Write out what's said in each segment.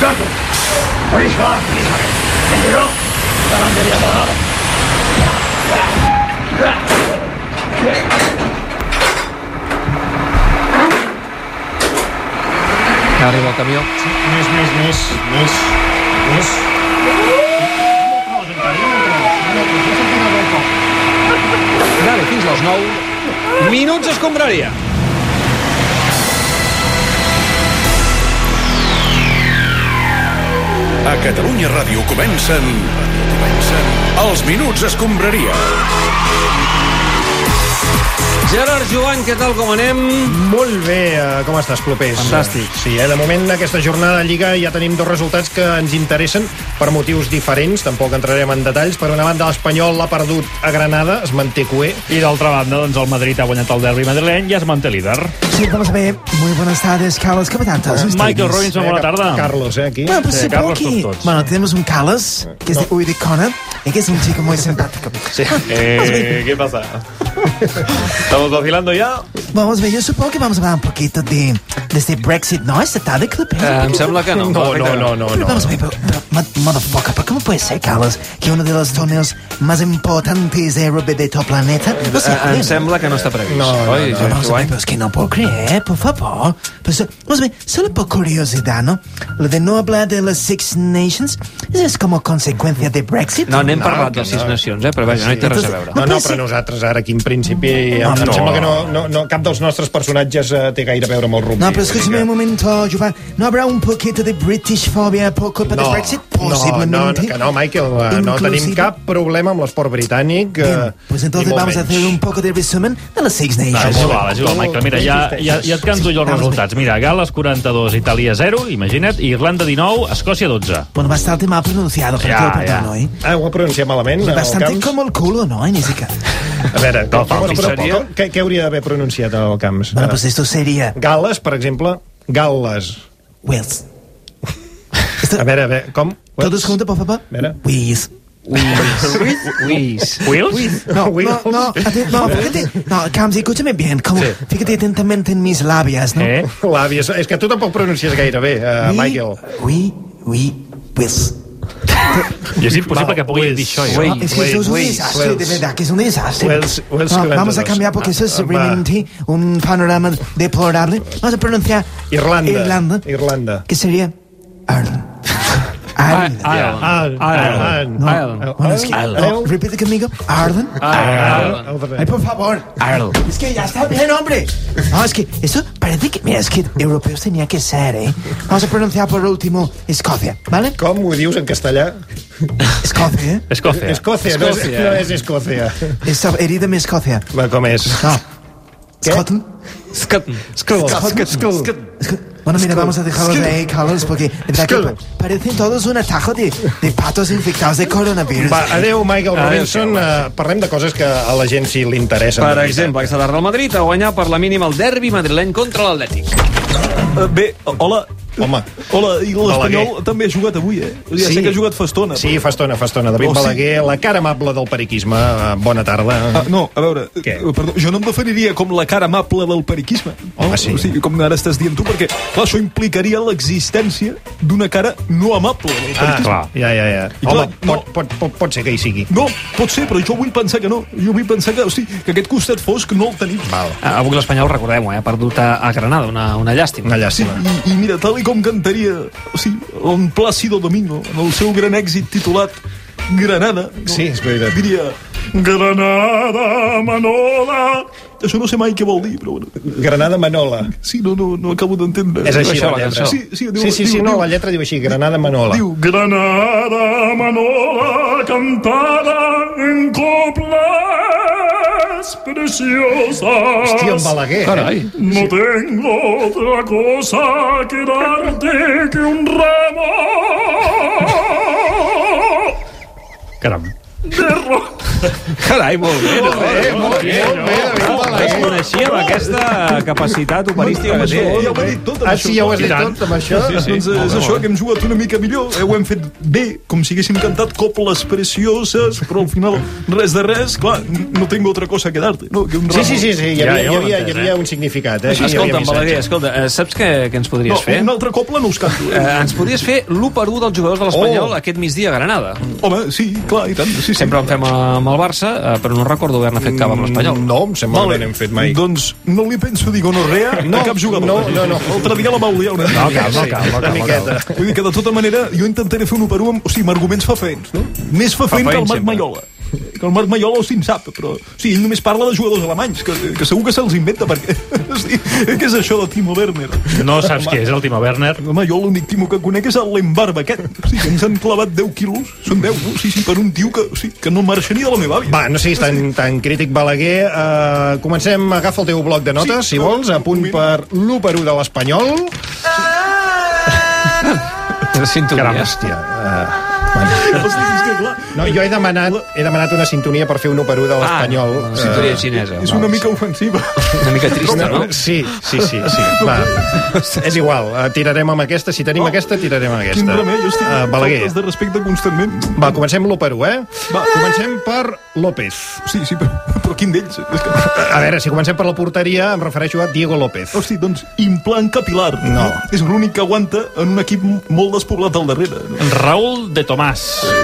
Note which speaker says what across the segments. Speaker 1: Gato. Oreja. ¿Enteró? La bandería bajada.
Speaker 2: Arriba el camió.
Speaker 3: Més, més, més, més, més.
Speaker 2: Dale, fins les 9. Minuts escombraria.
Speaker 4: A Catalunya Ràdio comencen... comencen... Els Minuts Escombraria.
Speaker 2: Gerard Joan, què tal, com anem?
Speaker 3: Molt bé, eh, com estàs, Clopés?
Speaker 2: Fantàstic.
Speaker 3: Sí, eh? de moment, aquesta jornada de Lliga ja tenim dos resultats que ens interessen per motius diferents, tampoc entrarem en detalls. Per una banda, l'Espanyol l'ha perdut a Granada, es manté cué.
Speaker 5: I d'altra banda, doncs el Madrid ha guanyat el derbi madrileny i es manté líder.
Speaker 6: Sí, vamos a ver. Muy buenas tardes, Carlos. ¿Cómo estás?
Speaker 5: Michael Robinson, bona tarda.
Speaker 3: Carlos, eh, aquí.
Speaker 6: Bueno, pues
Speaker 5: Sí,
Speaker 6: supongo
Speaker 5: Carlos
Speaker 6: que...
Speaker 5: con todos.
Speaker 6: Bueno, tenemos un Carlos, que es de Uy de Connor, y que es un chico muy simpático.
Speaker 5: Eh, ¿Qué pasa? ¿Estamos vacilando ya?
Speaker 6: Vamos a ver, yo supongo que vamos a hablar un poquito de, de este Brexit, ¿no? Esta tarde, Clip.
Speaker 2: Eh, em sembla que no.
Speaker 3: No, no, no, no. no.
Speaker 6: Vamos a ver, pero, pero, mo- motherfucker, pero ¿cómo puede ser, Carlos, que uno de los torneos más importantes de rugby de todo el planeta no se
Speaker 2: Eh, Em
Speaker 6: juegue?
Speaker 2: sembla que no està previst.
Speaker 3: No, no,
Speaker 2: Oi,
Speaker 3: no,
Speaker 2: Gerard
Speaker 6: Vamos a ver,
Speaker 2: Joan?
Speaker 6: pero es que no puedo creer, por favor. Pues, eh, vamos a ver, solo por curiosidad, ¿no? Lo de no hablar de las Six Nations, ¿eso es como consecuencia de Brexit?
Speaker 2: No, n'hem parlat de sis nacions, eh? però vaja, no hi té res a veure.
Speaker 3: No, no, però nosaltres ara aquí en principi em, em
Speaker 6: No.
Speaker 3: sembla que no, no, no, cap dels nostres personatges eh, té gaire a veure amb el rugby.
Speaker 6: No, pero escúchame un momento, Giovanni. ¿No habrá un poquito de British fobia por culpa de Brexit?
Speaker 3: no, no, no,
Speaker 6: Posiblemente.
Speaker 3: que no, Michael, eh, no
Speaker 6: Inclusive-
Speaker 3: tenim cap problema amb l'esport britànic. eh,
Speaker 6: Bien, pues entonces
Speaker 3: ni molt
Speaker 6: vamos a hacer
Speaker 3: menys.
Speaker 6: un poco de resumen de las Six
Speaker 5: Ah,
Speaker 6: Nations.
Speaker 5: és igual, és igual, Michael. Mira, ja, ja, ja et canto jo els resultats. Mira, Gales 42, Itàlia 0, imagina't, i Irlanda 19, Escòcia 12.
Speaker 6: Bueno, bastante mal pronunciado, pero
Speaker 5: Ya,
Speaker 6: te lo perdono,
Speaker 5: ya.
Speaker 6: ¿eh?
Speaker 3: Ah, ho ha pronunciat malament, el
Speaker 6: Bastante
Speaker 3: Camps?
Speaker 6: como el culo, ¿no? En ese caso.
Speaker 3: A veure, no, però, però, però,
Speaker 2: seria?
Speaker 3: com- què, què hauria d'haver pronunciat el Camps?
Speaker 6: Bueno,
Speaker 3: Eh,
Speaker 6: pues esto sería
Speaker 3: Gal·les, per exemple, Gal·les.
Speaker 6: Wales.
Speaker 3: A veure, a veure, com?
Speaker 6: Todos juntos, por favor.
Speaker 3: Mira.
Speaker 6: Wales.
Speaker 2: Uis, uis.
Speaker 5: Wills?
Speaker 6: No,
Speaker 3: Wales.
Speaker 6: no, no, aten- no, fíjate, no, Camps, escúchame bien, como, fíjate atentamente en mis labias, ¿no?
Speaker 5: Eh?
Speaker 3: L'àvia, és- és que tu tampoc pronuncies gaire bé, eh,
Speaker 6: We-
Speaker 3: Michael.
Speaker 6: We, we, Wales.
Speaker 5: I és impossible que pugui dir això, jo.
Speaker 2: Wales.
Speaker 6: No, es que esto es un
Speaker 2: Wales,
Speaker 6: desastre,
Speaker 3: Wales.
Speaker 6: de verdad, que es un desastre.
Speaker 3: Wales, Wales
Speaker 6: No,
Speaker 3: 42.
Speaker 6: vamos a cambiar porque eso es
Speaker 3: Ah, va.
Speaker 6: realmente un panorama deplorable. Vamos a pronunciar
Speaker 3: Irlanda.
Speaker 6: Irlanda,
Speaker 3: Irlanda.
Speaker 6: que sería Ireland. Ireland.
Speaker 3: Al,
Speaker 5: Ireland.
Speaker 3: al,
Speaker 2: Ireland.
Speaker 3: al,
Speaker 6: Bueno, es que-
Speaker 3: al,
Speaker 6: no,
Speaker 3: al,
Speaker 6: repite conmigo. Ireland.
Speaker 2: Ireland.
Speaker 3: al,
Speaker 6: Ay, por favor.
Speaker 2: Ireland.
Speaker 6: Es que ya está bien, hombre. No, es que eso parece que. Mira, es que europeos tenía que ser, ¿eh? Vamos a pronunciar por último Escocia, ¿vale?
Speaker 3: Com ho dius en castellà?
Speaker 6: Escocia, ¿eh?
Speaker 5: Escòcia.
Speaker 3: Escòcia, no és, no és Escòcia.
Speaker 6: Esa herida me Escocia.
Speaker 3: Va, com és?
Speaker 6: No.
Speaker 3: ¿Qué?
Speaker 6: Scotland.
Speaker 2: Scotland.
Speaker 3: Escòcia. Escòcia.
Speaker 6: Bueno, mira, vamos a dejarlos
Speaker 3: Escudo.
Speaker 6: ahí, Carlos, porque de verdad que
Speaker 3: Escudo.
Speaker 6: pa- parecen todos un atajo de, de patos infectados de coronavirus.
Speaker 3: Va, adeu,
Speaker 5: Ah,
Speaker 3: Michael Robinson. Eh, parlem de coses que a la gent sí li interessen. de
Speaker 2: Per
Speaker 3: veritat.
Speaker 2: exemple, aquesta tarda el Madrid ha guanyat per la mínima el derbi madrileny contra l'Atlètic.
Speaker 7: Eh, Bé, hola.
Speaker 3: Home.
Speaker 7: Hola, i l'Espanyol
Speaker 3: Balaguer.
Speaker 7: també ha jugat avui, eh? Ja
Speaker 3: Sí.
Speaker 7: sé que ha jugat fa estona.
Speaker 3: Sí, fa estona, fa estona. David
Speaker 7: Oh, sí.
Speaker 3: Balaguer, eh. la cara amable del periquisme. Eh, Bona tarda.
Speaker 7: Ah, no, a veure,
Speaker 3: Què?
Speaker 7: eh, perdó, jo no em definiria com la cara amable del periquisme.
Speaker 3: Home,
Speaker 7: no?
Speaker 3: sí.
Speaker 7: O sigui, com ara estàs dient tu, perquè, clar, això implicaria l'existència d'una cara no amable del
Speaker 3: Ah,
Speaker 7: periquisme.
Speaker 5: clar.
Speaker 3: Ja, ja, ja.
Speaker 7: I
Speaker 3: Home,
Speaker 7: clar, no.
Speaker 3: pot, pot, pot, pot ser que hi sigui.
Speaker 7: No, pot ser, però jo vull pensar que no. Jo vull pensar que, hosti, que aquest costat fosc no el tenim.
Speaker 3: Val.
Speaker 2: Ah, Avui l'Espanyol, recordem-ho, eh, ha perdut a, a Granada, una, una llàstima.
Speaker 3: Una
Speaker 7: Sí,
Speaker 3: llàstima.
Speaker 7: i, i mira, tal i com cantaria o sigui, en Plácido Domingo, en el seu gran èxit titulat Granada, no?
Speaker 3: Sí, és veritat.
Speaker 7: diria Granada, Manola... Això no sé mai què vol dir, però bueno,
Speaker 3: Granada Manola.
Speaker 7: sí, no, no, no acabo d'entendre.
Speaker 3: És així
Speaker 2: això, la
Speaker 3: la lletra.
Speaker 2: cançó.
Speaker 3: Sí, sí,
Speaker 7: diu-
Speaker 3: sí, sí,
Speaker 7: diu-
Speaker 3: no,
Speaker 7: diu-
Speaker 3: la lletra diu així, Granada Manola.
Speaker 7: Diu, Granada, Manola, cantada en coplas preciosas.
Speaker 3: Hòstia, en Balaguer. eh?
Speaker 2: Carai.
Speaker 7: No tengo otra cosa que darte que un ramo
Speaker 5: Caram.
Speaker 2: Carai, molt bé. eh,
Speaker 3: Molt bé, molt bé, molt bé, de
Speaker 2: Desconeixíem aquesta capacitat operística que
Speaker 7: ja
Speaker 2: té. eh?
Speaker 7: ho he dit tot, amb
Speaker 3: Ah,
Speaker 7: això.
Speaker 3: sí, ja ho has dit
Speaker 5: tant.
Speaker 3: tot, amb això?
Speaker 7: Sí, sí. Doncs és això, que hem jugat una mica millor, eh, ho hem fet bé, com si haguéssim cantat coples precioses, però al final res de res, clar, n- no tengo otra cosa que darte. No, que un
Speaker 3: Sí,
Speaker 7: ramo.
Speaker 3: sí, sí, sí. Hi
Speaker 5: Ja,
Speaker 3: havia,
Speaker 5: ja ho
Speaker 3: hi havia,
Speaker 5: he
Speaker 3: hi
Speaker 5: entès,
Speaker 3: havia
Speaker 5: eh?
Speaker 3: un significat. Eh? Hi havia
Speaker 2: Escolta'm,
Speaker 3: missatge.
Speaker 2: Valerià, escolta, eh, saps què, què ens podries
Speaker 7: No,
Speaker 2: fer?
Speaker 7: un altre coble no us canto.
Speaker 2: Eh,
Speaker 7: Eh?
Speaker 2: ens podries fer l'1 per 1 dels jugadors de l'Espanyol
Speaker 3: Oh.
Speaker 2: aquest migdia a Granada.
Speaker 7: Home, sí, clar, i tant. Sí, sí.
Speaker 2: Sempre en fem amb el Barça, eh, però no recordo haver-ne fet cap amb l'Espanyol.
Speaker 3: Mm, No, em sembla que no n'hem fet mai.
Speaker 7: Doncs no li penso dir gonorrea no, a cap jugador.
Speaker 3: no, no, no.
Speaker 7: L'altre dia la va odiar una mica.
Speaker 5: cal, no cal, no cal. No
Speaker 3: Una
Speaker 5: cal.
Speaker 3: miqueta.
Speaker 7: Vull dir que de tota manera jo intentaré fer un per un amb, o sigui, amb arguments fafents, no? Més fafent que el Marc
Speaker 2: Fefaents, sempre.
Speaker 7: Maiola. Que el Marc Maiola sí en sap, però... O sigui, ell només parla de jugadors alemanys, que, que segur que se'ls inventa, perquè... O sigui, què és això de Timo Werner?
Speaker 5: No saps què és el Timo Werner?
Speaker 7: Home, jo l'únic Timo que conec és el Lembarba aquest. O sigui, que ens han clavat 10 quilos, són 10, no? Sí, sí, per un tio que, o sigui, que no marxa ni de la meva àvia.
Speaker 3: Va, no siguis tan, tan crític, Balaguer. Uh, comencem, agafa el teu bloc de notes,
Speaker 7: Sí.
Speaker 3: si vols, a punt per l'1 per 1 de l'Espanyol.
Speaker 2: Sintonia.
Speaker 5: Caram,
Speaker 3: Hòstia. eh.
Speaker 7: O sigui, és que, clar,
Speaker 3: No, jo he demanat, he demanat una sintonia per fer un 1 per 1 de l'Espanyol. eh,
Speaker 2: Ah, sintonia xinesa.
Speaker 7: és una mica ofensiva.
Speaker 2: Una mica trista, no?
Speaker 3: Sí, sí, sí, sí. Va, és igual, eh, tirarem amb aquesta. Si tenim aquesta, tirarem amb aquesta.
Speaker 7: Oh. Quin remei, jo estic
Speaker 3: Eh,
Speaker 7: amb
Speaker 3: Balaguer.
Speaker 7: faltes de respecte constantment.
Speaker 3: Va, comencem l'1 per 1, eh?
Speaker 7: Va.
Speaker 3: Comencem per López.
Speaker 7: Sí, sí, però, però quin d'ells? És que...
Speaker 3: A veure, si comencem per la porteria, em refereixo a Diego López.
Speaker 7: Hosti, doncs implant capilar.
Speaker 3: No.
Speaker 7: És l'únic que aguanta en un equip molt despoblat al darrere. no?
Speaker 5: Raúl de Tomàs.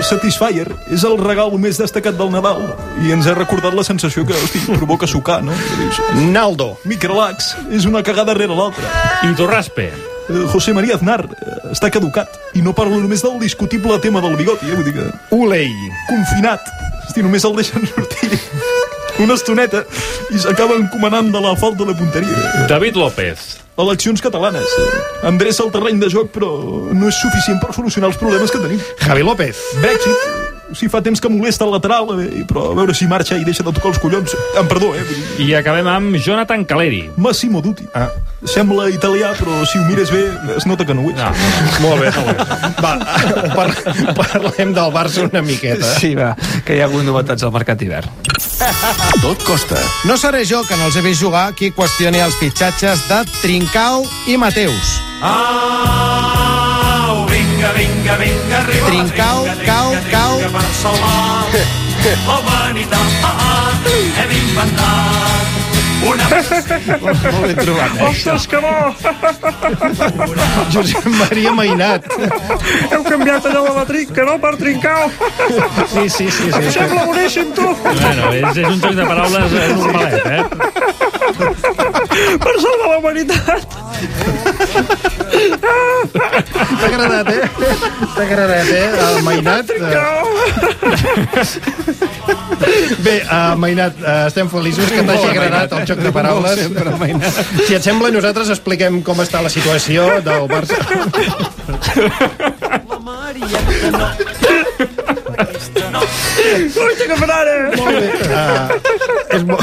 Speaker 7: Satisfyer és el regal més destacat del Nadal i ens ha recordat la sensació que, hosti, provoca sucar, no? Que dius,
Speaker 3: Naldo.
Speaker 7: Microlax és una cagada rere l'altra.
Speaker 5: I Torraspe.
Speaker 7: Eh, José María Aznar eh, està caducat i no parlo només del discutible tema del bigoti, eh? Vull dir que
Speaker 3: Ulei.
Speaker 7: confinat. Hosti, només el deixen sortir una estoneta i s'acaba encomanant de la falta de punteria.
Speaker 5: David López.
Speaker 7: Eleccions catalanes. Endreça el terreny de joc, però no és suficient per solucionar els problemes que tenim.
Speaker 3: Javi López.
Speaker 7: Brexit, si fa temps que molesta el lateral, eh, però a veure si marxa i deixa de tocar els collons. Em perdó, eh? vull dir,
Speaker 5: I acabem amb Jonathan Caleri.
Speaker 7: Massimo Dutti.
Speaker 3: Ah.
Speaker 7: Sembla italià, però si ho mires bé es nota que no ho és.
Speaker 5: No.
Speaker 3: Molt bé, molt bé. Va, par parlem del eh? Barça una miqueta.
Speaker 2: Sí, va, que hi ha hagut novetats al mercat d'hivern.
Speaker 4: Tot costa.
Speaker 8: No seré jo que no els he vist jugar qui qüestioni els fitxatges de Trincao i Mateus.
Speaker 4: Au, vinga, vinga, vinga, arriba.
Speaker 8: Trincau,
Speaker 4: Vinga,
Speaker 8: cau,
Speaker 4: vinga,
Speaker 8: cau.
Speaker 4: vinga, Oh, Barcelona. La humanitat, ah, ah, hem inventat una...
Speaker 8: Molt ben trobat, eh?
Speaker 5: Ostres, que bo!
Speaker 3: Josep Maria Mainat.
Speaker 5: Heu canviat allò de la trinca, no? Per trincar
Speaker 3: Sí, sí, sí. sí.
Speaker 5: boníssim, tu! Bueno, és, és un joc de paraules eh, normalet, eh? Per salvar la humanitat!
Speaker 3: T'ha agradat, eh? T'ha agradat, eh? El Mainat. Eh, Bé, uh, Mainat, uh, estem feliços que t'hagi agradat el joc de paraules. Sempre, Mainat. Si et sembla, nosaltres expliquem com està la situació del Barça.
Speaker 5: Coita que farà, eh?
Speaker 3: Molt bé. Uh, és bo...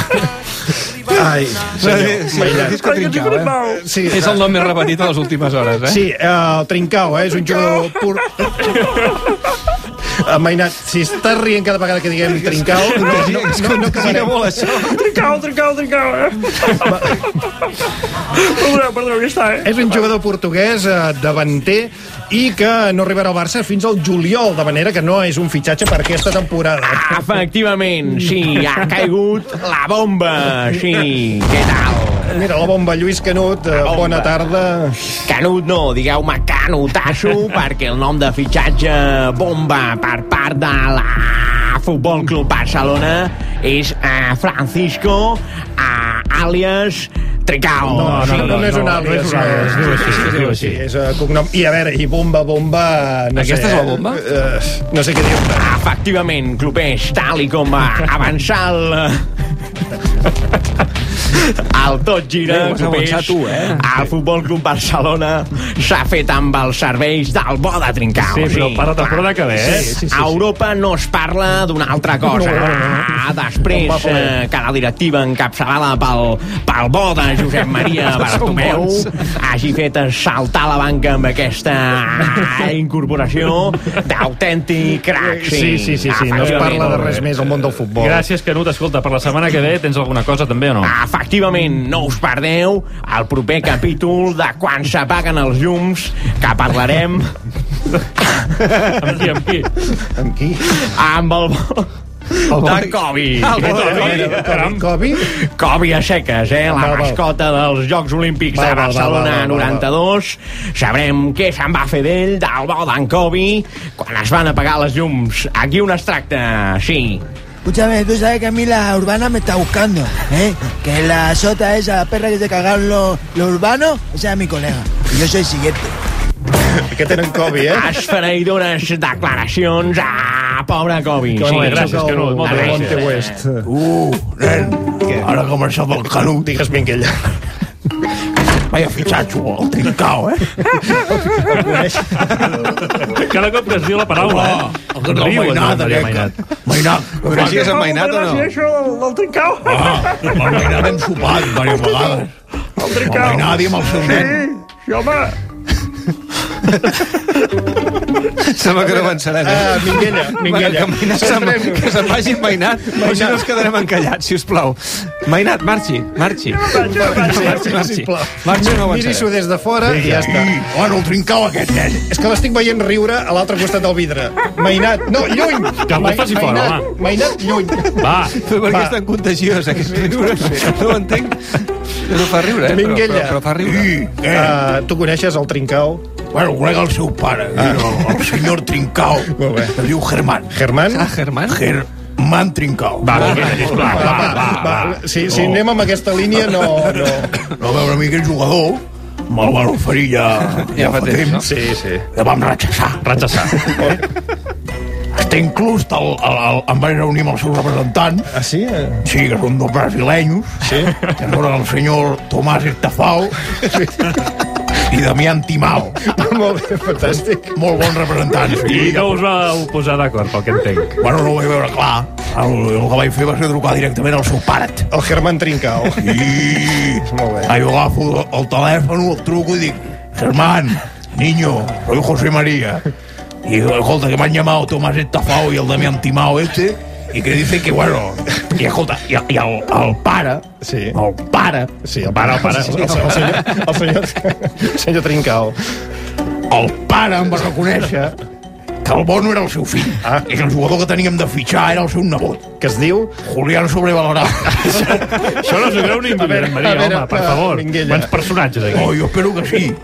Speaker 3: Ai, senyor, sí, Mainat. Sí,
Speaker 2: eh? És el nom més repetit a les últimes hores, eh?
Speaker 3: Sí, eh, el Trincao, eh? És un jugador pur... Eh, Mainat, si estàs rient cada vegada que diguem Trincao, no, no, no, no acabarem.
Speaker 2: molt, això.
Speaker 5: Trincau, trincau, trincau, eh? Perdoneu, perdoneu, ja està, eh?
Speaker 3: És un jugador portuguès, eh, davanter, i que no arribarà al Barça fins al juliol, de manera que no és un fitxatge per aquesta temporada.
Speaker 9: Efectivament, sí, ha caigut la bomba, sí. Què tal?
Speaker 3: Mira, la bomba, Lluís Canut, eh,
Speaker 9: bomba.
Speaker 3: bona tarda.
Speaker 9: Canut no, digueu-me Canutasso, perquè el nom de fitxatge bomba per part de la Futbol Club Barcelona és eh, Francisco eh, alias Tricao.
Speaker 5: No, no, no,
Speaker 3: no és un àlies,
Speaker 5: No és un àlies, es diu així, es diu així.
Speaker 3: Sí, és eh, cognom. I a veure, i bomba, bomba... No
Speaker 2: Aquesta
Speaker 3: sé,
Speaker 2: és la
Speaker 3: eh,
Speaker 2: bomba?
Speaker 3: Eh, no sé què dir-te.
Speaker 9: "Ah, Efectivament, clubers, tal i com va avançar el... El tot gira,
Speaker 2: Bé, ho has
Speaker 9: clubers.
Speaker 2: avançat tu, eh?
Speaker 9: El Futbol Club Barcelona s'ha fet amb els serveis del bo de Trincao.
Speaker 5: Sí, però para temporada que ve, eh?
Speaker 9: Sí, sí, sí, a Europa no es parla d'una altra cosa. Ah, Després eh, que la directiva encapçalada pel, pel bo de Josep Maria Bartomeu hagi fet saltar la banca amb aquesta incorporació d'autèntic crac.
Speaker 3: Sí, sí, sí, sí, no es parla de res més al món del futbol.
Speaker 5: Gràcies, Canut. Escolta, per la setmana que ve tens alguna cosa també o no?
Speaker 9: Efectivament, no us perdeu el proper capítol de Quan s'apaguen els llums, que parlarem
Speaker 5: Amb qui, amb qui?
Speaker 9: amb el... De Covid.
Speaker 5: Caram.
Speaker 3: Covi?
Speaker 9: Covid a seques, eh? La
Speaker 3: Val, val.
Speaker 9: mascota dels Jocs Olímpics de
Speaker 3: Val, val, val, val,
Speaker 9: Barcelona
Speaker 3: val, val,
Speaker 9: 92. Sabrem què se'n va fer d'ell, del bo d'en Covid, quan es van apagar les llums. Aquí on es tracta, sí.
Speaker 6: Escúchame, tú sabes que a mí la urbana me está buscando, ¿eh? Que la sota esa, la perra que se cagaron los, los urbanos, esa es mi colega. Y yo soy el siguiente.
Speaker 3: Que tenen Covi, eh?
Speaker 9: Esfereïdores declaracions a pobre Covid.
Speaker 5: Molt bé,
Speaker 9: Sí.
Speaker 5: gràcies, Canut. Moltes
Speaker 9: Gràcies.
Speaker 5: gràcies.
Speaker 3: Monte West.
Speaker 1: Uh, nen, ara que marxa pel canut,
Speaker 3: Digues Minguella.
Speaker 1: vaya fitxatxo, el trincao, eh?
Speaker 5: Cada cop que es diu la paraula,
Speaker 1: Ah,
Speaker 5: eh?
Speaker 1: el que no,
Speaker 5: Riu,
Speaker 1: mainat,
Speaker 5: Joan Maria Mainat.
Speaker 1: aquest. Mainat.
Speaker 8: Coneixies en Mainat o no?
Speaker 1: Ah, el mainat hem sopat diverses vegades. El trincao. El mainat i amb el seu nen.
Speaker 8: Sembla que no avançarem.
Speaker 3: Ah,
Speaker 8: Eh?
Speaker 3: Minguella,
Speaker 8: Bueno,
Speaker 3: Minguella.
Speaker 8: que Mainat se'n- que se'n vagi en Mainat, així no ens quedarem encallats, si us plau. Mainat, marxi, marxi. Marxi, marxi.
Speaker 3: sisplau.
Speaker 8: Marxi o no
Speaker 3: Miri-s'ho
Speaker 8: avançarem.
Speaker 3: des de fora i ja està.
Speaker 1: I, bueno, el trincao aquest nen.
Speaker 3: És que l'estic veient riure a l'altre costat del vidre. Mainat, no, lluny!
Speaker 5: Que el
Speaker 3: Mai-
Speaker 5: faci fora,
Speaker 3: Mainat,
Speaker 5: home.
Speaker 3: Mainat, lluny.
Speaker 5: Va,
Speaker 8: Però per què és tan contagiós, aquest riure? No ho entenc. Però fa riure, eh? Però, però,
Speaker 3: Minguella.
Speaker 8: però fa riure.
Speaker 1: I, què?
Speaker 3: Uh, tu coneixes el Trincao?
Speaker 1: Bueno, conec el seu pare, el, el senyor Trincao.
Speaker 3: Ah. Molt bé.
Speaker 1: Es diu Germán.
Speaker 3: Germán?
Speaker 8: Ah, Germán?
Speaker 1: Germán Trincao.
Speaker 5: va, Minguella, sisplau. Va, va, va.
Speaker 3: Si, si anem amb aquesta línia, no... Oh, no.
Speaker 1: No veu Oh. una mica el jugador, me'l van oferir ja,
Speaker 8: Ja fa temps, no?
Speaker 3: Sí, sí.
Speaker 1: La vam rechaçar.
Speaker 5: Ratxassar.
Speaker 1: Està inclús, el, el, el, em van reunir amb el seu representant,
Speaker 3: Ah, sí? Eh,
Speaker 1: sí, que són dos brasileños,
Speaker 3: Sí?
Speaker 1: que són el senyor Tomàs Estafau i Damián Timal.
Speaker 3: Ah, Molt bé, fantàstic.
Speaker 1: Molt bon representant.
Speaker 5: I
Speaker 1: Sí.
Speaker 5: no us vau posar d'acord, pel que entenc.
Speaker 1: Bueno, no ho vaig veure clar. El, el que vaig fer va ser trucar directament al seu pare.
Speaker 3: El Germán Trincao.
Speaker 1: I...
Speaker 3: Molt bé.
Speaker 1: Ahí jo agafo el telèfon, el truco i dic Germán, niño, soy José María. Y digo, escolta, que me han llamado Tomás Estafao y el Damián Timao este y que dice que, bueno, y escolta, y, y el, el pare,
Speaker 3: Sí.
Speaker 1: el pare,
Speaker 3: Sí, el pare, el pare. El, el, el, senyor, el senyor, el senyor Trincao.
Speaker 1: el pare em va reconèixer que el Bono era el seu fill.
Speaker 3: Ah.
Speaker 1: I que el jugador que teníem de fitxar era el seu nebot,
Speaker 3: Que es diu...
Speaker 1: Julián Sobrevalorat.
Speaker 5: Això no s'ho creu ningú,
Speaker 3: veure,
Speaker 5: Josep Maria,
Speaker 3: a veure,
Speaker 5: home, per
Speaker 3: eh,
Speaker 5: favor.
Speaker 3: Minguella.
Speaker 5: Quants personatges,
Speaker 1: oh,
Speaker 5: aquí.
Speaker 1: jo espero que sí.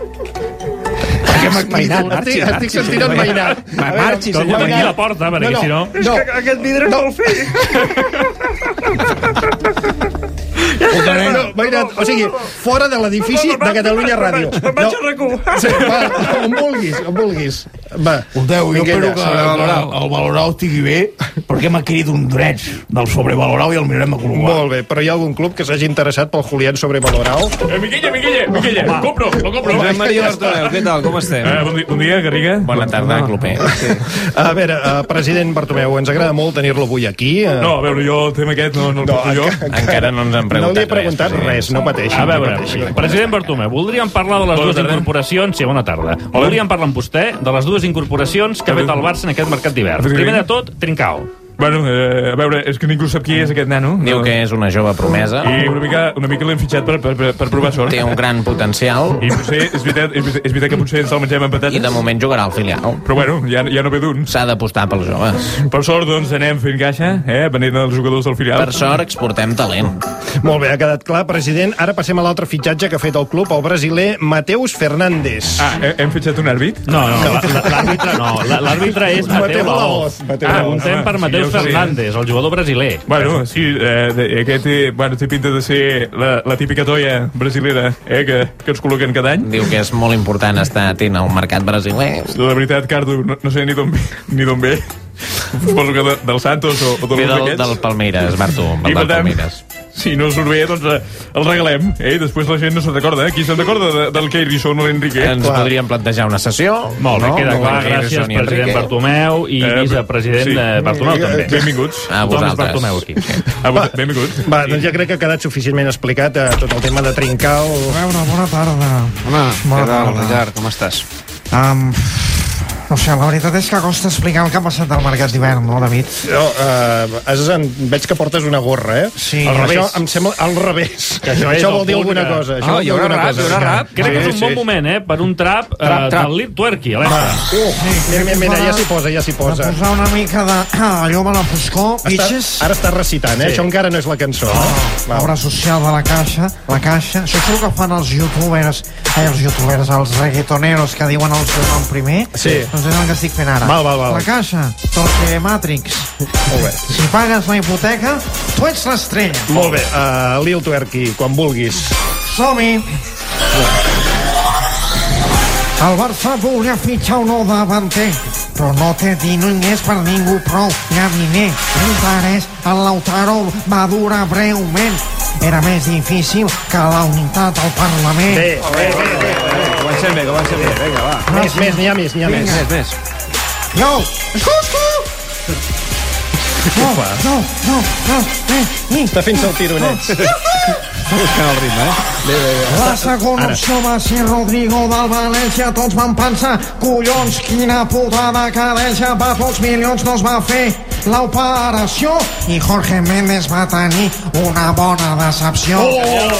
Speaker 1: Perquè m'ha cridat.
Speaker 3: Estic, estic sentint en Mainat.
Speaker 8: Va,
Speaker 3: A veure,
Speaker 8: marxi,
Speaker 5: Que algú
Speaker 8: senyor.
Speaker 5: tanqui la porta, perquè si no...
Speaker 3: No,
Speaker 4: Aquest vidre no. és molt fi.
Speaker 1: Escolta, nen,
Speaker 3: no, Mainat, eh, o sigui, fora de l'edifici de Catalunya Ràdio.
Speaker 4: Me'n vaig a recu.
Speaker 3: Sí, va, on vulguis, on vulguis. Va,
Speaker 1: Escolteu, jo
Speaker 3: Minguella,
Speaker 1: espero que el
Speaker 3: sobrevalorau.
Speaker 1: Valorau, el Valorau estigui bé, perquè m'ha adquirit un dret del sobrevalorat i el mirarem a col·locar.
Speaker 3: Molt bé, però hi ha algun club que s'hagi interessat pel Julián Sobrevalorat?
Speaker 5: Eh, Miquella, Miquella, Miquella, ho compro, ho compro.
Speaker 8: Josep Maria Bartomeu, què tal? Com estem?
Speaker 5: Eh, bon, di- bon dia, Garriga.
Speaker 9: Bona tarda, clubers.
Speaker 3: A veure, eh, president Bartomeu, ens agrada molt tenir-lo avui aquí. eh,
Speaker 5: No, a veure, jo el tema aquest no, no el porto jo.
Speaker 9: Encara no ens han
Speaker 3: no li he
Speaker 9: preguntat
Speaker 3: preguntat res,
Speaker 9: president.
Speaker 3: no pateixi.
Speaker 5: A
Speaker 3: no
Speaker 5: veure,
Speaker 3: pateixi.
Speaker 5: president Bartomeu, voldríem parlar de les
Speaker 9: Bona
Speaker 5: dues
Speaker 9: tarda.
Speaker 5: incorporacions... Sí, bona tarda. Voldríem parlar amb vostè de les dues incorporacions que ha fet el Barça en aquest mercat d'hivern. Primer de tot, Trincao.
Speaker 10: Bueno, eh, a veure, és que ningú sap qui és aquest nano.
Speaker 9: Diu que és una jove promesa,
Speaker 10: I una mica, una mica l'hem fitxat per, per, per, per provar sort.
Speaker 9: té un gran potencial
Speaker 10: I potser, és veritat, és veritat, és veritat que potser ens el mengem amb
Speaker 9: i
Speaker 10: patates.
Speaker 9: de moment jugarà al filial.
Speaker 10: Però bueno, ja, ja no ve d'un.
Speaker 9: S'ha d'apostar pels joves.
Speaker 10: Per sort, doncs, anem fent caixa, eh? Venint els jugadors del filial.
Speaker 9: Per sort, exportem talent.
Speaker 3: Molt bé, ha quedat clar, president. Ara passem a l'altre fitxatge que ha fet el club, el brasiler Mateus Fernández.
Speaker 10: Ah, he- hem fitxat un àrbit?
Speaker 5: No, no, la- la- l'àrbitre no. La- L'àrbitre és
Speaker 3: Mateu
Speaker 5: Mateu Laoz.
Speaker 3: Laoz, Mateu Laoz.
Speaker 5: Preguntem Ah, per
Speaker 10: Sí,
Speaker 5: Mateu
Speaker 10: ja ho sabia.
Speaker 5: Fernández, el jugador brasiler.
Speaker 10: Bueno, sí, eh, de- aquest té, bueno, té pinta de ser la, la típica toia brasilera eh, que, que ens col·loquen cada any.
Speaker 9: Diu que és molt important estar atent al mercat brasiler.
Speaker 10: La veritat, Cardo, no, no sé ni d'on ve, ni d'on ve. Suposo que de, del Santos o, o
Speaker 9: Ve
Speaker 10: d'un
Speaker 9: del,
Speaker 10: d'aquests.
Speaker 9: del Palmeiras, Bartu,
Speaker 10: I
Speaker 9: del
Speaker 10: per tant,
Speaker 9: Palmeiras.
Speaker 10: si no surt bé, doncs eh, el regalem. Eh? I després la gent no se'n recorda. Eh? Qui se'n recorda de, del Keirison o l'Enrique?
Speaker 8: Ens podríem plantejar una sessió.
Speaker 10: Molt bé,
Speaker 8: no?
Speaker 10: queda
Speaker 8: No,
Speaker 10: clar.
Speaker 8: Enrique
Speaker 5: gràcies,
Speaker 8: Erison i Enrique.
Speaker 5: president Bartomeu i vicepresident eh, Bartomeu, també.
Speaker 10: Benvinguts.
Speaker 8: A
Speaker 5: Tothom és
Speaker 8: vosaltres.
Speaker 5: Bartomeu aquí.
Speaker 10: A vos- Benvinguts.
Speaker 3: Va, doncs ja crec que ha quedat suficientment explicat eh, tot el tema de trincar el...
Speaker 11: veure, bona tarda.
Speaker 8: Home,
Speaker 11: Bona
Speaker 8: què tal,
Speaker 11: tarda.
Speaker 8: Richard, com estàs?
Speaker 11: Um, no sé, la veritat és que costa explicar el que ha passat al mercat d'hivern, no, David?
Speaker 3: No, eh, has, en, veig que portes una gorra, eh?
Speaker 11: Sí.
Speaker 3: Al revés.
Speaker 11: Això
Speaker 3: Això em sembla al revés.
Speaker 5: Que això és
Speaker 3: això
Speaker 5: el
Speaker 3: vol dir
Speaker 5: punt
Speaker 3: alguna
Speaker 5: que-
Speaker 3: cosa.
Speaker 5: Ah,
Speaker 3: Això vol
Speaker 5: hi
Speaker 3: dir
Speaker 5: haurà
Speaker 3: alguna
Speaker 5: rap,
Speaker 3: cosa.
Speaker 5: hi haurà rap. Crec que és un bon moment, eh, per un trap, eh,
Speaker 3: Trap, trap.
Speaker 5: del Lip Twerky, alerta.
Speaker 3: Mira, mira, mira, ja s'hi posa, ja s'hi posa.
Speaker 11: De posar una mica de ah, llum a la foscor,
Speaker 3: Està,
Speaker 11: bitches.
Speaker 3: ara estàs recitant, eh?
Speaker 11: Sí.
Speaker 3: Això encara no és la cançó. eh? Va.
Speaker 11: Obra social de la caixa, la caixa. Això és el que fan els youtubers, ai, els youtubers, els reggaetoneros que diuen el seu nom primer.
Speaker 3: Sí.
Speaker 11: Doncs és el que estic fent ara.
Speaker 3: Val, val, val.
Speaker 11: La caixa, Torque Matrix.
Speaker 3: Molt bé.
Speaker 11: Si pagues la hipoteca, tu ets l'estrella.
Speaker 3: Molt bé, uh, Lil Twerky, quan vulguis.
Speaker 11: Som-hi! El Barça volia fitxar un nou davanter, però no té diners per ningú prou, ni a diner. L'interès en Lautaro va durar breument. Era més difícil que la unitat al Parlament.
Speaker 3: Bé, bé, bé, bé.
Speaker 8: Comencem Eh. bé, comencem bé. Vinga, va.
Speaker 3: Més, més, n'hi ha més, n'hi ha més.
Speaker 11: Vinga.
Speaker 8: Més, més.
Speaker 11: No! Escolta! No, no, no, no, eh, eh.
Speaker 3: Està fent-se el tiro, nen.
Speaker 8: Buscant el ritme, eh? Bé, bé, bé.
Speaker 11: La segona opció va ser Rodrigo del València. Tots van pensar, collons, quina puta decadència. Per pocs milions no es va fer l'operació i Jorge Méndez va tenir una bona decepció.
Speaker 3: Oh!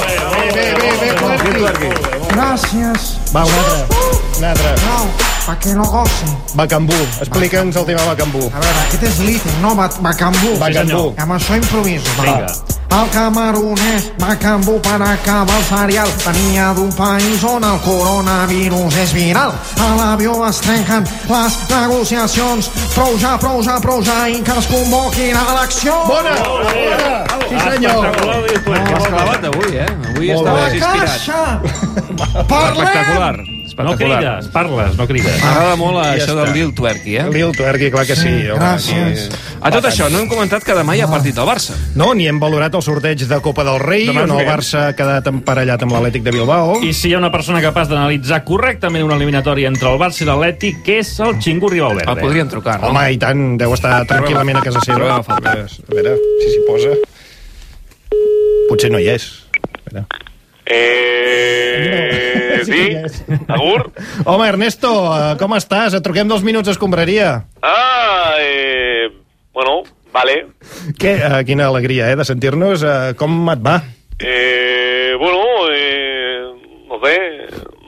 Speaker 3: Bé, bé, bé, bé, Twerky.
Speaker 11: Gràcies.
Speaker 3: Va, un altre. Un altre.
Speaker 11: No, pa que no gosi.
Speaker 3: Bacambú. Explica'ns el tema Bacambú.
Speaker 11: A veure, aquest és l'ítem, no? Ba- Bacambú.
Speaker 3: Bacambú.
Speaker 11: Amb això improviso. Va.
Speaker 5: Vinga.
Speaker 11: El camerunès Macambú per acabar el serial venia d'un país on el coronavirus és viral. A l'avió es trenquen les negociacions. Prou ja, prou ja, prou ja i que es convoquin a l'acció.
Speaker 3: Bona! Bona! Sí, senyor.
Speaker 5: Espectacular, Lil Twerky.
Speaker 8: Has clavat avui, eh? Avui
Speaker 3: Molt
Speaker 8: estava
Speaker 11: La
Speaker 8: inspirat.
Speaker 11: caixa! Parlem!
Speaker 8: Espectacular.
Speaker 5: No
Speaker 8: Espectacular.
Speaker 5: crides, parles, no crides.
Speaker 8: M'agrada molt això
Speaker 3: Ah, està.
Speaker 8: del Lil Twerky, eh?
Speaker 3: Lil Twerky, clar que sí. home,
Speaker 11: Gràcies.
Speaker 8: A tot això, no hem comentat que demà hi ha partit del Barça.
Speaker 3: aquí. No, ni hem valorat el sorteig de Copa del Rei,
Speaker 10: Demà
Speaker 3: on el
Speaker 10: juguem.
Speaker 3: Barça ha quedat emparellat amb l'Atlètic de Bilbao.
Speaker 5: I si hi ha una persona capaç d'analitzar correctament una eliminatòria entre el Barça i l'Atlètic, que és el Xingu Rivalverde.
Speaker 8: El podríem trucar, no?
Speaker 3: Home, i tant, deu estar tranquil·lament a casa seva.
Speaker 8: Trobem a faltar.
Speaker 3: A veure, si s'hi posa... Potser no hi és. A veure.
Speaker 12: Eh, sí? Agur?
Speaker 3: Home, Ernesto, eh, com estàs? Et truquem dos minuts d'escombraria.
Speaker 12: Ah, eh, bueno, vale.
Speaker 3: Que, eh, quina alegria, eh, de sentir-nos. Eh, com et va?
Speaker 12: Eh, bueno, eh, no sé,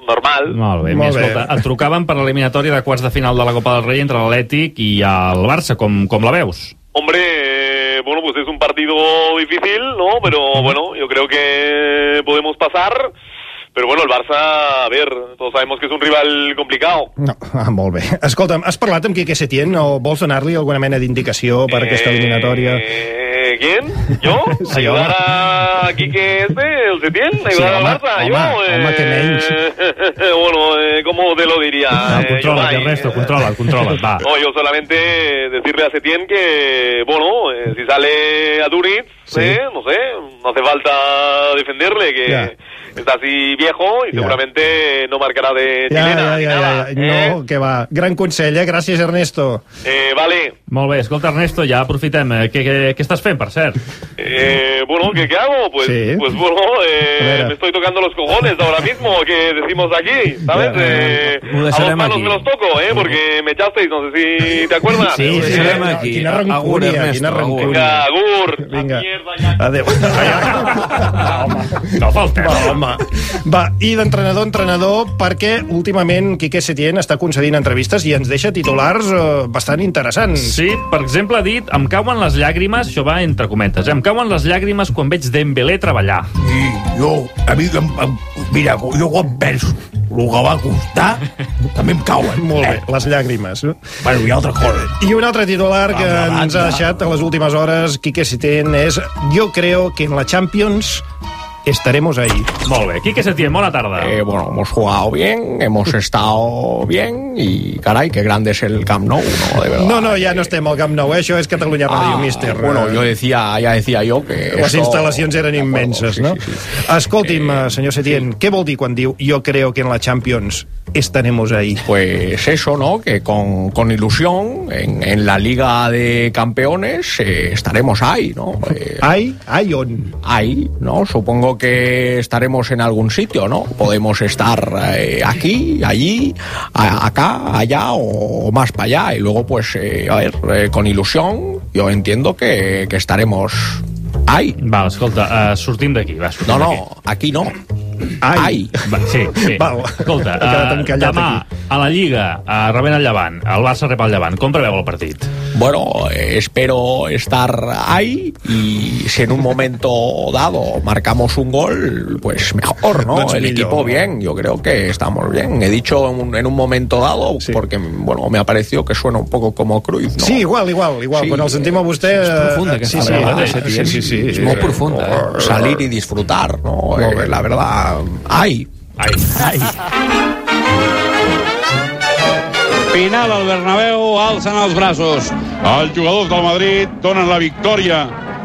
Speaker 12: normal.
Speaker 5: Molt bé,
Speaker 3: Molt
Speaker 5: Molt
Speaker 3: bé.
Speaker 5: escolta, et trucaven per l'eliminatòria de quarts de final de la Copa del Rei entre l'Atlètic i el Barça, com, com la veus?
Speaker 12: Hombre, eh, bueno, pues es un partido difícil, ¿no? Pero bueno, yo creo que podemos pasar. Pero bueno, el Barça, a ver, todos sabemos que es un rival complicado.
Speaker 3: No, ah, molt bé. Escolta'm, has parlat amb Quique Setién o vols donar-li alguna mena d'indicació per aquesta eliminatòria?
Speaker 12: Eh, ¿Quién? ¿Yo?
Speaker 3: Sí,
Speaker 12: ¿Ayudar
Speaker 3: home.
Speaker 12: a Quique este, el Setién? ¿Ayudar
Speaker 3: Sí,
Speaker 12: al
Speaker 3: home,
Speaker 12: Barça?
Speaker 3: home,
Speaker 12: ¿Yo?
Speaker 3: home, que menys.
Speaker 12: bueno, eh, ¿cómo te lo diría?
Speaker 5: Ah,
Speaker 12: Eh,
Speaker 5: controla't,
Speaker 12: Ibai,
Speaker 5: Ernesto,
Speaker 12: eh,
Speaker 5: controla't, controla't, va.
Speaker 12: No, yo solamente eh, decirle a Setién que, bueno, eh, si sale a Duriz,
Speaker 3: Sí.
Speaker 12: eh, no sé, no hace falta defenderle, que
Speaker 3: Ya.
Speaker 12: está así viejo y
Speaker 3: Ya.
Speaker 12: seguramente no marcará de
Speaker 3: Ja,
Speaker 12: chilena
Speaker 3: ja,
Speaker 12: ni
Speaker 3: ja, ja,
Speaker 12: nada,
Speaker 3: ja.
Speaker 12: ¿eh?
Speaker 3: No, que va. Gran consell, eh? Gràcies, Ernesto.
Speaker 12: Eh, vale,
Speaker 5: Molt bé, escolta, Ernesto, ja aprofitem. Eh, Què, què, què estàs fent, per cert?
Speaker 12: Eh, bueno, ¿qué, qué hago? Pues,
Speaker 3: Sí.
Speaker 12: pues bueno,
Speaker 3: A
Speaker 12: eh,
Speaker 3: ver.
Speaker 12: me estoy tocando los cojones ahora mismo, que decimos aquí, ¿sabes?
Speaker 8: Ya,
Speaker 12: Eh,
Speaker 8: lo
Speaker 12: a
Speaker 8: dejaremos
Speaker 12: dos manos
Speaker 8: aquí.
Speaker 12: me los toco, ¿eh? Porque me echasteis, no sé si te acuerdas.
Speaker 3: Sí, sí,
Speaker 8: Deixarem
Speaker 3: quina-
Speaker 8: aquí.
Speaker 3: quina
Speaker 8: Agur,
Speaker 3: rancúnia,
Speaker 8: Ernesto,
Speaker 3: quina
Speaker 8: agur.
Speaker 3: rancúnia.
Speaker 12: Venga, Agur,
Speaker 3: Vinga.
Speaker 12: la mierda ya.
Speaker 3: Adéu. Va, home.
Speaker 5: No falta.
Speaker 12: eh?
Speaker 3: Va, home. Va, i d'entrenador a entrenador, perquè últimament Quique Setién està concedint entrevistes i ens deixa titulars eh, bastant interessants.
Speaker 5: Sí, per exemple, ha dit Em cauen les llàgrimes, això va entre cometes, eh? Em cauen les llàgrimes quan veig Dembélé treballar.
Speaker 1: I jo, a mi, em, em, mira, jo quan penso el que va costar, també em cauen.
Speaker 3: Molt bé,
Speaker 1: Eh?
Speaker 3: les llàgrimes. no?
Speaker 1: Bueno, hi ha altra cosa.
Speaker 3: I un altre titular que
Speaker 1: Home,
Speaker 3: ens ha
Speaker 1: banda.
Speaker 3: deixat a les últimes hores Quique Setién és Jo creo que en la Champions estaremos ahí.
Speaker 5: Molt bé. Quique Setién, bona tarda.
Speaker 9: Eh, bueno, hemos jugado bien, hemos estado bien y caray, qué grande es el Camp Nou, ¿no? De verdad.
Speaker 3: No, no, ja no estem al Camp Nou, eh? això és Catalunya Ràdio, ah, míster.
Speaker 9: Bueno, yo decía, ya decía yo que
Speaker 3: Les
Speaker 9: esto-
Speaker 3: instal·lacions eren immenses, no? Escolti'm, eh, senyor Setién, què vol dir quan diu jo creo que en la Champions estaremos ahí?
Speaker 9: Pues eso, ¿no? Que con, con ilusión en, en la Liga de Campeones eh, estaremos ahí, ¿no? Eh,
Speaker 3: ¿Ahí? ¿Ahí on?
Speaker 9: Ahí, ¿no? Supongo que estaremos en algún sitio, ¿no? Podemos estar eh, aquí, allí, a- acá, allá o, o más para allá. Y luego, pues, eh, a ver, eh, con ilusión, yo entiendo que, que estaremos ahí.
Speaker 5: Va, escolta, eh, sortim d'aquí. Va, sortim
Speaker 9: No,
Speaker 5: d'aquí.
Speaker 9: no, aquí no.
Speaker 5: Ai. Va, sí, sí.
Speaker 9: Val.
Speaker 5: Escolta,
Speaker 9: He quedat
Speaker 5: eh,
Speaker 9: encallat
Speaker 5: demà a la Lliga, a Rebent el Llevant, el Barça rep el Llevant. Com preveu el partit?
Speaker 9: Bueno, eh, espero estar ahí y si en un momento dado marcamos un gol, pues mejor, ¿no?
Speaker 10: Doncs
Speaker 9: El
Speaker 10: millor,
Speaker 9: equipo bien, yo creo que estamos bien. He dicho en un, en un momento dado porque, bueno, me ha parecido que suena un poco como Cruyff, ¿no?
Speaker 3: Sí, igual, igual, igual.
Speaker 9: Sí.
Speaker 3: Quan el sentim a vostè... És
Speaker 9: profunda aquesta palabra, eh,
Speaker 3: Eh, sí, sí, sí, sí.
Speaker 9: Es muy profundo, ¿eh? Salir y disfrutar, ¿no? Eh, la verdad, ¡ay! ¡Ay!
Speaker 13: Final al Bernabéu, alcen els braços. Els jugadors del Madrid donen la victòria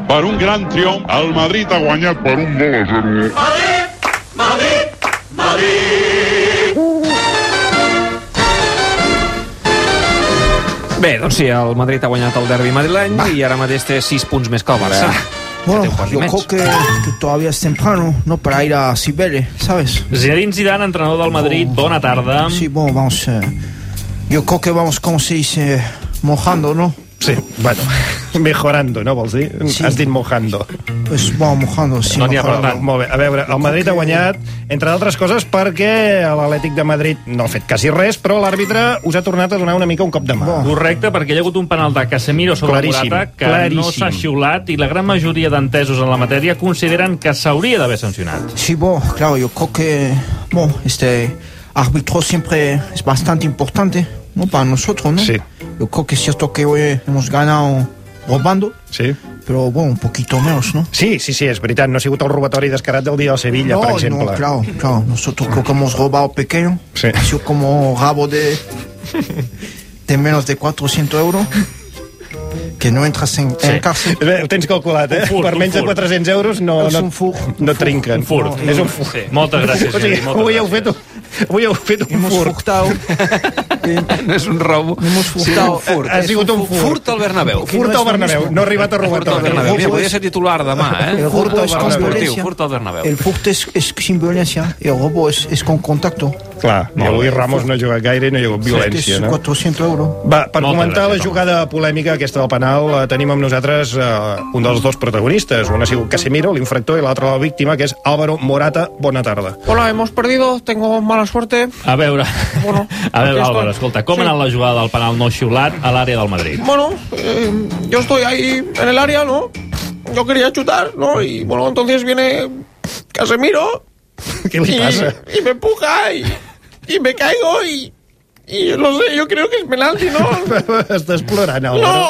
Speaker 13: per un gran triomf. El Madrid ha guanyat per un gol a zero.
Speaker 2: Bé, doncs sí, el Madrid ha guanyat el derbi madrileny i ara mateix té 6 punts més que el Barça.
Speaker 8: Bueno,
Speaker 2: un partido
Speaker 8: yo
Speaker 2: menos.
Speaker 8: creo que, que todavía es temprano, ¿no? Para ir a Siberia, ¿sabes? Oh.
Speaker 5: Zinedine Zidane, entrenador del Madrid, bona tarda.
Speaker 8: Sí, bueno, vamos. eh, yo creo que vamos, como se dice, mojando, ¿no?
Speaker 3: Sí, bueno, mejorando, no vols dir? Sí. Has dit mojando.
Speaker 8: Pues vamos mojando, sí.
Speaker 3: no n'hi ha per
Speaker 8: mejorando.
Speaker 3: tant. Molt bé, a veure, el Madrid ha guanyat, entre d'altres coses, perquè l'Atlètic de Madrid no ha fet quasi res, però l'àrbitre us ha tornat a donar una mica un cop de mà.
Speaker 5: Correcte, perquè hi ha hagut un penal de Casemiro sobre
Speaker 3: Claríssim,
Speaker 5: Morata que no
Speaker 3: claríssim.
Speaker 5: s'ha xiulat i la gran majoria d'entesos en la matèria consideren que s'hauria d'haver sancionat.
Speaker 8: Sí, bueno, claro, yo creo que bueno, este árbitro siempre es bastante importante, ¿no? Para nosotros, ¿no?
Speaker 3: Sí.
Speaker 8: Yo creo que es cierto que hoy hemos ganado robando,
Speaker 3: sí.
Speaker 8: pero bueno, un poquito menos, ¿no?
Speaker 3: Sí, sí, sí, és veritat, no ha sigut el robatori descarat del dia del Sevilla,
Speaker 8: no,
Speaker 3: per exemple.
Speaker 8: no, claro, claro. Nosotros creo que hemos robado pequeño.
Speaker 3: Sí.
Speaker 8: Ha sido como rabo de, de menos de 400 euros. Que no entras en, en cárcel.
Speaker 3: Bé, Ho tens calculat, eh?
Speaker 8: Un furt,
Speaker 3: per
Speaker 8: un
Speaker 3: menys de
Speaker 8: furt.
Speaker 3: 400 euros no,
Speaker 8: És
Speaker 3: no,
Speaker 8: un furt.
Speaker 3: no trinquen.
Speaker 5: Un furt.
Speaker 3: És un furt.
Speaker 5: Sí, moltes gràcies,
Speaker 3: O sigui,
Speaker 5: Jordi, moltes
Speaker 3: avui heu fet, un- avui heu fet un
Speaker 8: Hemos
Speaker 3: furt.
Speaker 8: furtado.
Speaker 10: No és un robo.
Speaker 8: Hemos
Speaker 3: furtado. Ha sigut un furt.
Speaker 10: Furt al Bernabéu.
Speaker 3: Furt al Bernabéu. No ha arribat a
Speaker 10: Furt al
Speaker 3: robatori.
Speaker 10: Bernabéu.
Speaker 8: El
Speaker 10: Mira,
Speaker 8: furt
Speaker 10: podria
Speaker 8: és-
Speaker 10: ser titular demà, eh?
Speaker 8: El
Speaker 10: Furt
Speaker 8: robo
Speaker 10: al
Speaker 8: es con
Speaker 10: Bernabéu.
Speaker 8: violencia.
Speaker 10: Furt al Bernabéu.
Speaker 8: El furto es, es sin violencia. El robo es, es con contacto.
Speaker 3: Clar, i avui Ramos no ha jugat gaire i no hi ha hagut violència,
Speaker 8: Este es
Speaker 3: no?
Speaker 8: 400 euros.
Speaker 3: Va, per
Speaker 8: Moltes
Speaker 3: comentar
Speaker 8: gràcies,
Speaker 3: la jugada polèmica aquesta del penal, eh, tenim amb nosaltres eh, un dels dos protagonistes. Un ha sigut Casemiro, l'infractor, i l'altre la víctima, que és Álvaro Morata. Bona tarda.
Speaker 10: Hola, hemos perdido, tengo mala suerte.
Speaker 5: A veure,
Speaker 10: Bueno,
Speaker 5: a
Speaker 10: aquí
Speaker 5: veure,
Speaker 10: estoy.
Speaker 5: Álvaro, escolta, com ha anat la jugada del penal no xiulat a l'àrea del Madrid?
Speaker 10: Bueno, eh, yo estoy ahí en el área, ¿no? Yo quería chutar, ¿no? Y bueno, entonces viene Casemiro.
Speaker 3: ¿Qué le
Speaker 10: y,
Speaker 3: pasa?
Speaker 10: Y me empuja y, y me caigo y, y yo no sé, yo creo que es penalti, ¿no?
Speaker 3: Estàs plorant,
Speaker 10: No,
Speaker 3: Álvaro.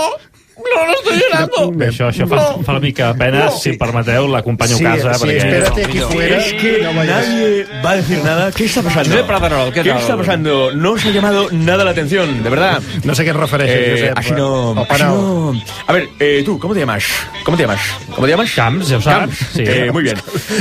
Speaker 10: no, no estoy llorando.
Speaker 5: Bé, això, això fa,
Speaker 10: No.
Speaker 5: fa una mica de pena,
Speaker 10: No.
Speaker 5: si em permeteu, l'acompanyo
Speaker 10: Sí,
Speaker 5: a casa.
Speaker 10: sí,
Speaker 5: perquè...
Speaker 14: ¿eh?
Speaker 10: espérate aquí fuera.
Speaker 14: Es que
Speaker 10: No vayas.
Speaker 14: nadie va a decir nada. ¿Qué está pasando?
Speaker 10: Josep Radarol, ¿qué
Speaker 14: ¿Qué
Speaker 10: tal?
Speaker 14: está pasando? No os ha llamado nada la atención, de verdad.
Speaker 3: No sé qué referencia,
Speaker 14: Eh,
Speaker 3: Josep.
Speaker 14: así no-
Speaker 3: O
Speaker 14: así
Speaker 3: parao.
Speaker 14: no- A ver, eh, tú, ¿cómo te llamas? ¿Cómo te llamas? ¿Cómo te llamas?
Speaker 5: Camps, ya
Speaker 14: Camps. Eh, muy bien.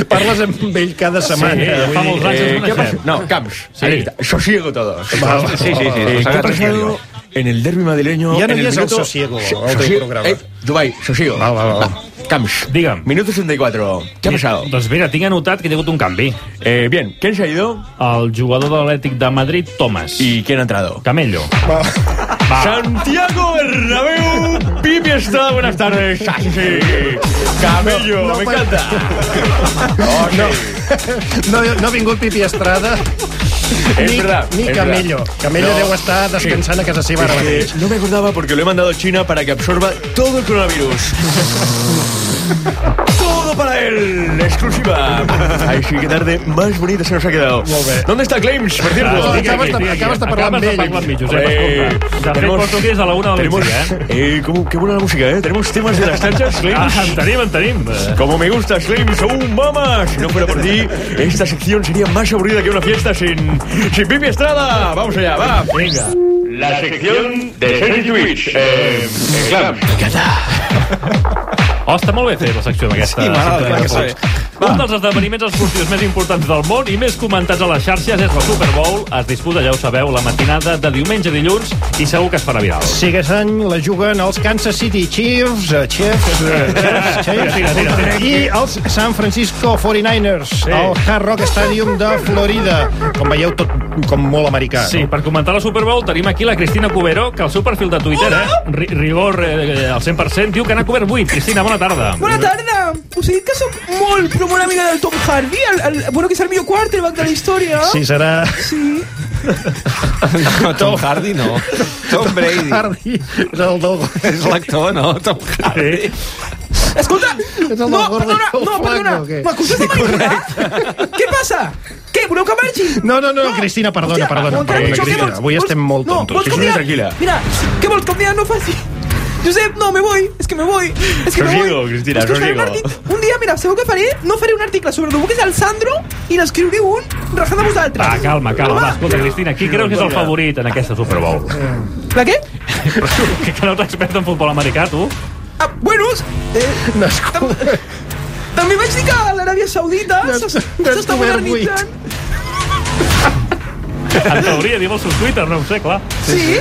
Speaker 3: Parles amb ell cada setmana. vull dir,
Speaker 14: Eh, ¿qué ha
Speaker 3: passa?
Speaker 14: pasado? No, Camps.
Speaker 3: Sí.
Speaker 14: Ahí está. Sosiego todo.
Speaker 3: Vale.
Speaker 14: Sí, sí, sí.
Speaker 3: Eh,
Speaker 14: nos
Speaker 3: ¿qué ha
Speaker 14: agarra
Speaker 3: pasado
Speaker 14: sosiego. en el derbi madrileño?
Speaker 3: Ya no
Speaker 14: en
Speaker 3: llegas al
Speaker 14: minuto-
Speaker 3: sosiego,
Speaker 14: Sí,
Speaker 3: a otro
Speaker 14: sosiego.
Speaker 3: programa.
Speaker 14: Eh, Dubai, sosiego. Va, Camps.
Speaker 5: Digan.
Speaker 14: Minuto 64. ¿Qué ha pasado?
Speaker 5: Doncs mira, tinc anotat que hi ha hagut un canvi.
Speaker 14: Eh, bien, ¿quién se ha ido?
Speaker 5: El jugador de l'Atlètic de Madrid, Thomas.
Speaker 14: ¿Y quién ha entrado?
Speaker 5: Camello.
Speaker 14: Santiago Bernabéu, Pipi está, buenas tardes. Ay, sí. Camello,
Speaker 3: No, no,
Speaker 14: me
Speaker 3: pa-
Speaker 14: encanta.
Speaker 3: No, no ha vingut Pipi Estrada.
Speaker 14: Es
Speaker 3: ni,
Speaker 14: verdad,
Speaker 3: Ni
Speaker 14: es verdad.
Speaker 3: Camello. Camello
Speaker 14: No.
Speaker 3: deu estar descansant a casa seva ara
Speaker 14: Es que
Speaker 3: mateix.
Speaker 14: no me acordaba porque lo he mandado a China para que absorba todo el coronavirus.
Speaker 15: Todo para él, exclusiva. Ay, sí, qué tarde más bonita se nos ha quedado. ¿Dónde está Claims, por cierto?
Speaker 3: Ah, acabas de- acabes de parlar amb ell.
Speaker 15: Eh,
Speaker 5: De fet,
Speaker 15: tenemos-
Speaker 5: porto dies a la una del migdia, eh?
Speaker 15: Eh, cómo- qué buena la música, ¿eh? Tenemos temas de las tanchas, Claims.
Speaker 5: Ah, en tenim, en tenim.
Speaker 15: Como me gusta, Claims, aún mamá. Si no fuera por ti, esta sección sería más aburrida que una fiesta sin, sin Pipi Estrada. Vamos allá, va. Venga. La sección de Sergi Twitch. Eh, Clams.
Speaker 5: Oh, està molt bé fer la secció d'aquesta.
Speaker 15: Sí, m'agrada,
Speaker 5: sintonia
Speaker 15: clar que
Speaker 5: de Fox.
Speaker 15: sí.
Speaker 5: Un dels esdeveniments esportius més importants del món i més comentats a les xarxes és la Super Bowl. Es disputa, ja ho sabeu, la matinada de diumenge a dilluns i segur que es farà viral.
Speaker 3: Sí, aquest any la juguen els Kansas City Chiefs, eh, Chiefs, eh, Chiefs, Chiefs,
Speaker 5: Tira, tira, tira.
Speaker 3: i els San Francisco 49ers, al Hard Rock Stadium de Florida. Com veieu, tot com molt americà.
Speaker 5: Sí, per comentar la Super Bowl tenim aquí la Cristina Cubero, que al seu perfil de Twitter, eh, ri- rigor eh, al 100%, diu que n'ha cobert 8. Cristina, bona tarda.
Speaker 16: Bona tarda! Us he dit que sóc molt, però molt amiga del Tom Hardy, el, el, bueno, que és el millor quarterback de la història.
Speaker 10: Ah.
Speaker 3: Sí, serà...
Speaker 16: Sí.
Speaker 8: No, Tom Hardy no. Tom Brady.
Speaker 3: Hardy. És el del...
Speaker 8: És l'actor, no? Tom Hardy.
Speaker 16: Escolta, no,
Speaker 3: gordo
Speaker 16: perdona, no,
Speaker 3: del flaco,
Speaker 16: perdona,
Speaker 3: o què?
Speaker 16: m'acuses de manipular? Què passa? Què, voleu que marxi?
Speaker 3: No, no, no, Cristina, perdona, perdona.
Speaker 16: Montana,
Speaker 3: perdona,
Speaker 16: això què
Speaker 3: Cristina. este
Speaker 16: vols?
Speaker 3: Avui estem molt
Speaker 16: No,
Speaker 3: tontos.
Speaker 16: vols que em diga- Mira, ¿qué vols que em diga? No faci. Josep, no, me voy, es que me voy, es que me
Speaker 15: Sosiego,
Speaker 16: voy.
Speaker 15: Cristina,
Speaker 16: És que us faré un
Speaker 15: sosiego.
Speaker 16: artic- Un dia, mira, sabeu què faré? No faré un article sobre el que és el Sandro i n'escriuré un rajant de vosaltres.
Speaker 3: Ah.
Speaker 5: Va, calma, calma. Va, escolta, Cristina, qui creus que és el
Speaker 16: Vinga.
Speaker 5: favorit en aquesta Super Bowl?
Speaker 16: La què?
Speaker 5: que que no ets expert en futbol americà, tu.
Speaker 16: Ah, bueno, eh, tam- també vaig dir que l'Aràbia Saudita s'es- s'està modernitzant.
Speaker 5: En teoria, diu els seus Twitter, no ho sé, clar.
Speaker 16: Sí,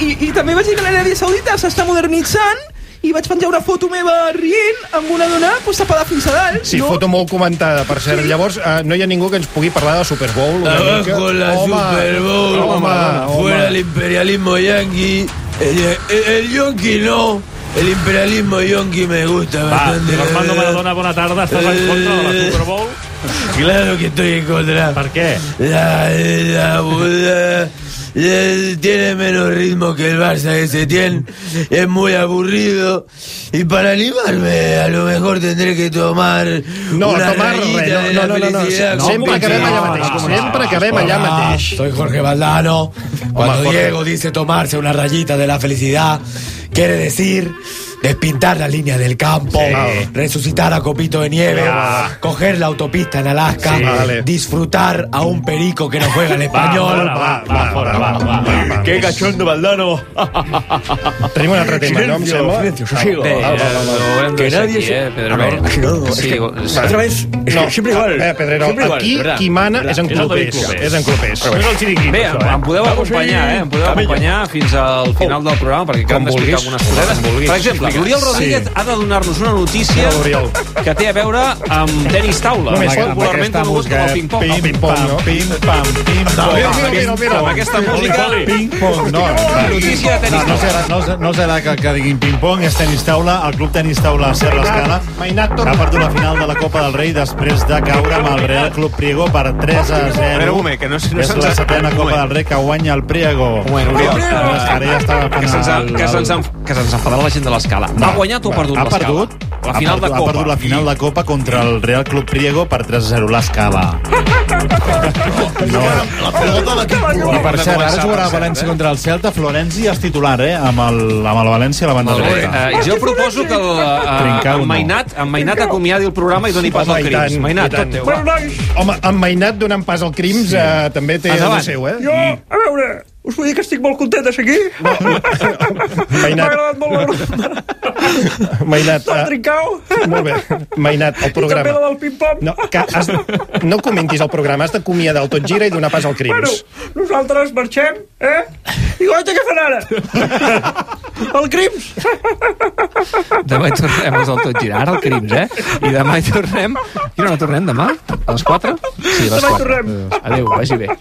Speaker 16: I, i, i també vaig dir que l'Aràbia Saudita s'està modernitzant i vaig penjar una foto meva rient amb una dona pues, tapada fins a dalt.
Speaker 3: Sí, foto molt comentada, per cert. Llavors, eh, no hi ha ningú que ens pugui parlar de Super Bowl. una mica.
Speaker 14: Abajo la
Speaker 3: Home,
Speaker 14: Super Bowl,
Speaker 3: home, home.
Speaker 14: fuera el imperialismo yanqui, el, el, el yonqui no, el imperialismo yanqui me gusta bastante. la
Speaker 5: Armando
Speaker 14: verdad.
Speaker 5: Maradona, bona tarda. Estàs en contra de la Super Bowl?
Speaker 14: Claro que estoy en contra.
Speaker 5: ¿Por qué?
Speaker 14: La, la, la- la- tiene menos ritmo que el Barça que se tiene. Es muy aburrido. Y para animarme, a lo mejor tendré que tomar.
Speaker 3: No,
Speaker 14: una
Speaker 3: tomar res,
Speaker 14: rayita
Speaker 3: no,
Speaker 14: de
Speaker 3: no,
Speaker 14: la
Speaker 3: no, no, no,
Speaker 14: felicidad
Speaker 3: no,
Speaker 14: con
Speaker 3: sempre
Speaker 14: Piqué.
Speaker 3: acabem allà mateix, sempre acabem allà
Speaker 14: Hola,
Speaker 3: mateix.
Speaker 14: Soy Jorge Valdano. Cuando
Speaker 3: Jorge.
Speaker 14: Diego dice tomarse una rayita de la felicidad, quiere decir despintar la línea del campo, Ah. resucitar a Copito de Nieve,
Speaker 5: Ah.
Speaker 14: coger la autopista en Alaska,
Speaker 5: Sí. Vale.
Speaker 14: disfrutar a un perico que no juega el
Speaker 5: Va,
Speaker 14: español.
Speaker 5: fora, va, va, fora, va, va, va.
Speaker 15: Qué cachondo, Valdano.
Speaker 3: Tenim un altre tema, no? Em
Speaker 15: Silencio,
Speaker 3: sembla.
Speaker 15: silencio, sosiego.
Speaker 2: Bé, eh, ho haurem de
Speaker 15: Que
Speaker 2: deixar
Speaker 15: nadie
Speaker 2: aquí,
Speaker 15: se- Ah,
Speaker 2: eh,
Speaker 15: A
Speaker 2: Pedrerol.
Speaker 15: ver, así no, es
Speaker 2: Sí,
Speaker 15: que-
Speaker 2: o-
Speaker 15: otra vez, es que siempre igual.
Speaker 3: Eh, Pedrero,
Speaker 15: Siempre igual,
Speaker 3: aquí
Speaker 15: ¿verdad?
Speaker 3: qui mana
Speaker 15: ¿verdad?
Speaker 3: és en
Speaker 15: És el David
Speaker 3: clubers.
Speaker 15: Clopés.
Speaker 3: És en clubers.
Speaker 15: Però bé.
Speaker 2: Bé, em, em podeu
Speaker 15: Vamos
Speaker 2: acompanyar,
Speaker 15: ahí,
Speaker 2: eh? Em podeu
Speaker 15: Camilla.
Speaker 2: acompanyar fins al final del programa, perquè
Speaker 15: Com
Speaker 2: acabem d'explicar
Speaker 15: vulguis.
Speaker 2: algunes cosetes.
Speaker 15: Com vulguis.
Speaker 2: Per exemple,
Speaker 15: Sí.
Speaker 2: l'Oriol Rodríguez
Speaker 15: Sí.
Speaker 2: ha de donar-nos una notícia
Speaker 15: Hola, Oriol.
Speaker 2: que té a veure amb tenis taula,
Speaker 15: Només
Speaker 2: que
Speaker 15: amb
Speaker 2: popularment
Speaker 15: aquesta
Speaker 2: conegut com
Speaker 15: música,
Speaker 2: el ping-pong.
Speaker 15: pim,
Speaker 2: El
Speaker 15: pam, pim,
Speaker 2: pam, pim,
Speaker 15: pam. Mira, mira,
Speaker 2: pim,
Speaker 15: mira, mira.
Speaker 2: Amb aquesta
Speaker 15: Poli,
Speaker 2: música...
Speaker 15: poli.
Speaker 17: Ping-pong, no.
Speaker 2: Notícia de tenis
Speaker 17: No, no, serà,
Speaker 2: taula.
Speaker 17: no, serà- no serà que, que diguin ping-pong, és tenis taula. El club tenis taula Serra Escala
Speaker 3: Mainat
Speaker 17: que
Speaker 14: Ah,
Speaker 17: ha
Speaker 3: torna.
Speaker 17: perdut la final de la Copa del Rei després de caure amb el Real Club Priego per 3 a 0.
Speaker 8: A veure, un moment, que no- no
Speaker 17: és
Speaker 8: se'ns-
Speaker 17: la setena
Speaker 8: un
Speaker 17: Copa
Speaker 8: moment.
Speaker 17: del Rei que guanya el Priego. Bueno,
Speaker 8: Oriol.
Speaker 3: Ah.
Speaker 17: Ara ja estava fent
Speaker 2: Que se'ns ha-
Speaker 17: el-
Speaker 2: que se'ns ha- que se'ns enfadarà la gent de l'escala. Ha guanyat o ha perdut
Speaker 17: ha
Speaker 2: l'escala?
Speaker 17: perdut,
Speaker 2: La final
Speaker 17: ha perdut, Ha
Speaker 2: de Copa.
Speaker 17: perdut la final de Copa contra el Real Club Priego per 3 a 0 l'escala. I per cert, ara jugarà el València contra el Celta. Florenzi és titular, eh? Amb el, amb el València a la banda
Speaker 2: Molt bé,
Speaker 17: dreta.
Speaker 2: eh, jo proposo que el, eh,
Speaker 17: Trincau,
Speaker 2: en
Speaker 17: no.
Speaker 2: Mainat, en Mainat acomiadi el programa i doni pas
Speaker 3: Home,
Speaker 2: al
Speaker 3: i
Speaker 2: Crims.
Speaker 3: tant,
Speaker 2: Mainat,
Speaker 3: i tant.
Speaker 2: tot teu.
Speaker 3: Bueno, nois, Home, en Mainat donant pas al Crims eh, també té el
Speaker 2: Endavant.
Speaker 3: seu, eh?
Speaker 4: Jo, a veure, us vull dir que estic molt content de ser aquí. M'ha agradat molt la ronda
Speaker 3: Mainat,
Speaker 4: del
Speaker 3: eh,
Speaker 4: Trincau.
Speaker 3: molt bé. Mainat, el
Speaker 4: I també la
Speaker 3: programa.
Speaker 4: del ping-pong.
Speaker 3: No, que has, no comentis el programa, has d'acomiadar el tot gira i donar pas al Crims.
Speaker 4: Bueno, nosaltres marxem, eh? I guaita, què fan ara? El Crims.
Speaker 2: Demà hi tornem, és el tot girar, el Crims, eh? I demà hi tornem... Quina hora tornem, demà? A les 4? Sí, a les
Speaker 4: Demà hi
Speaker 2: 4.
Speaker 4: tornem.
Speaker 2: Adéu, vagi bé.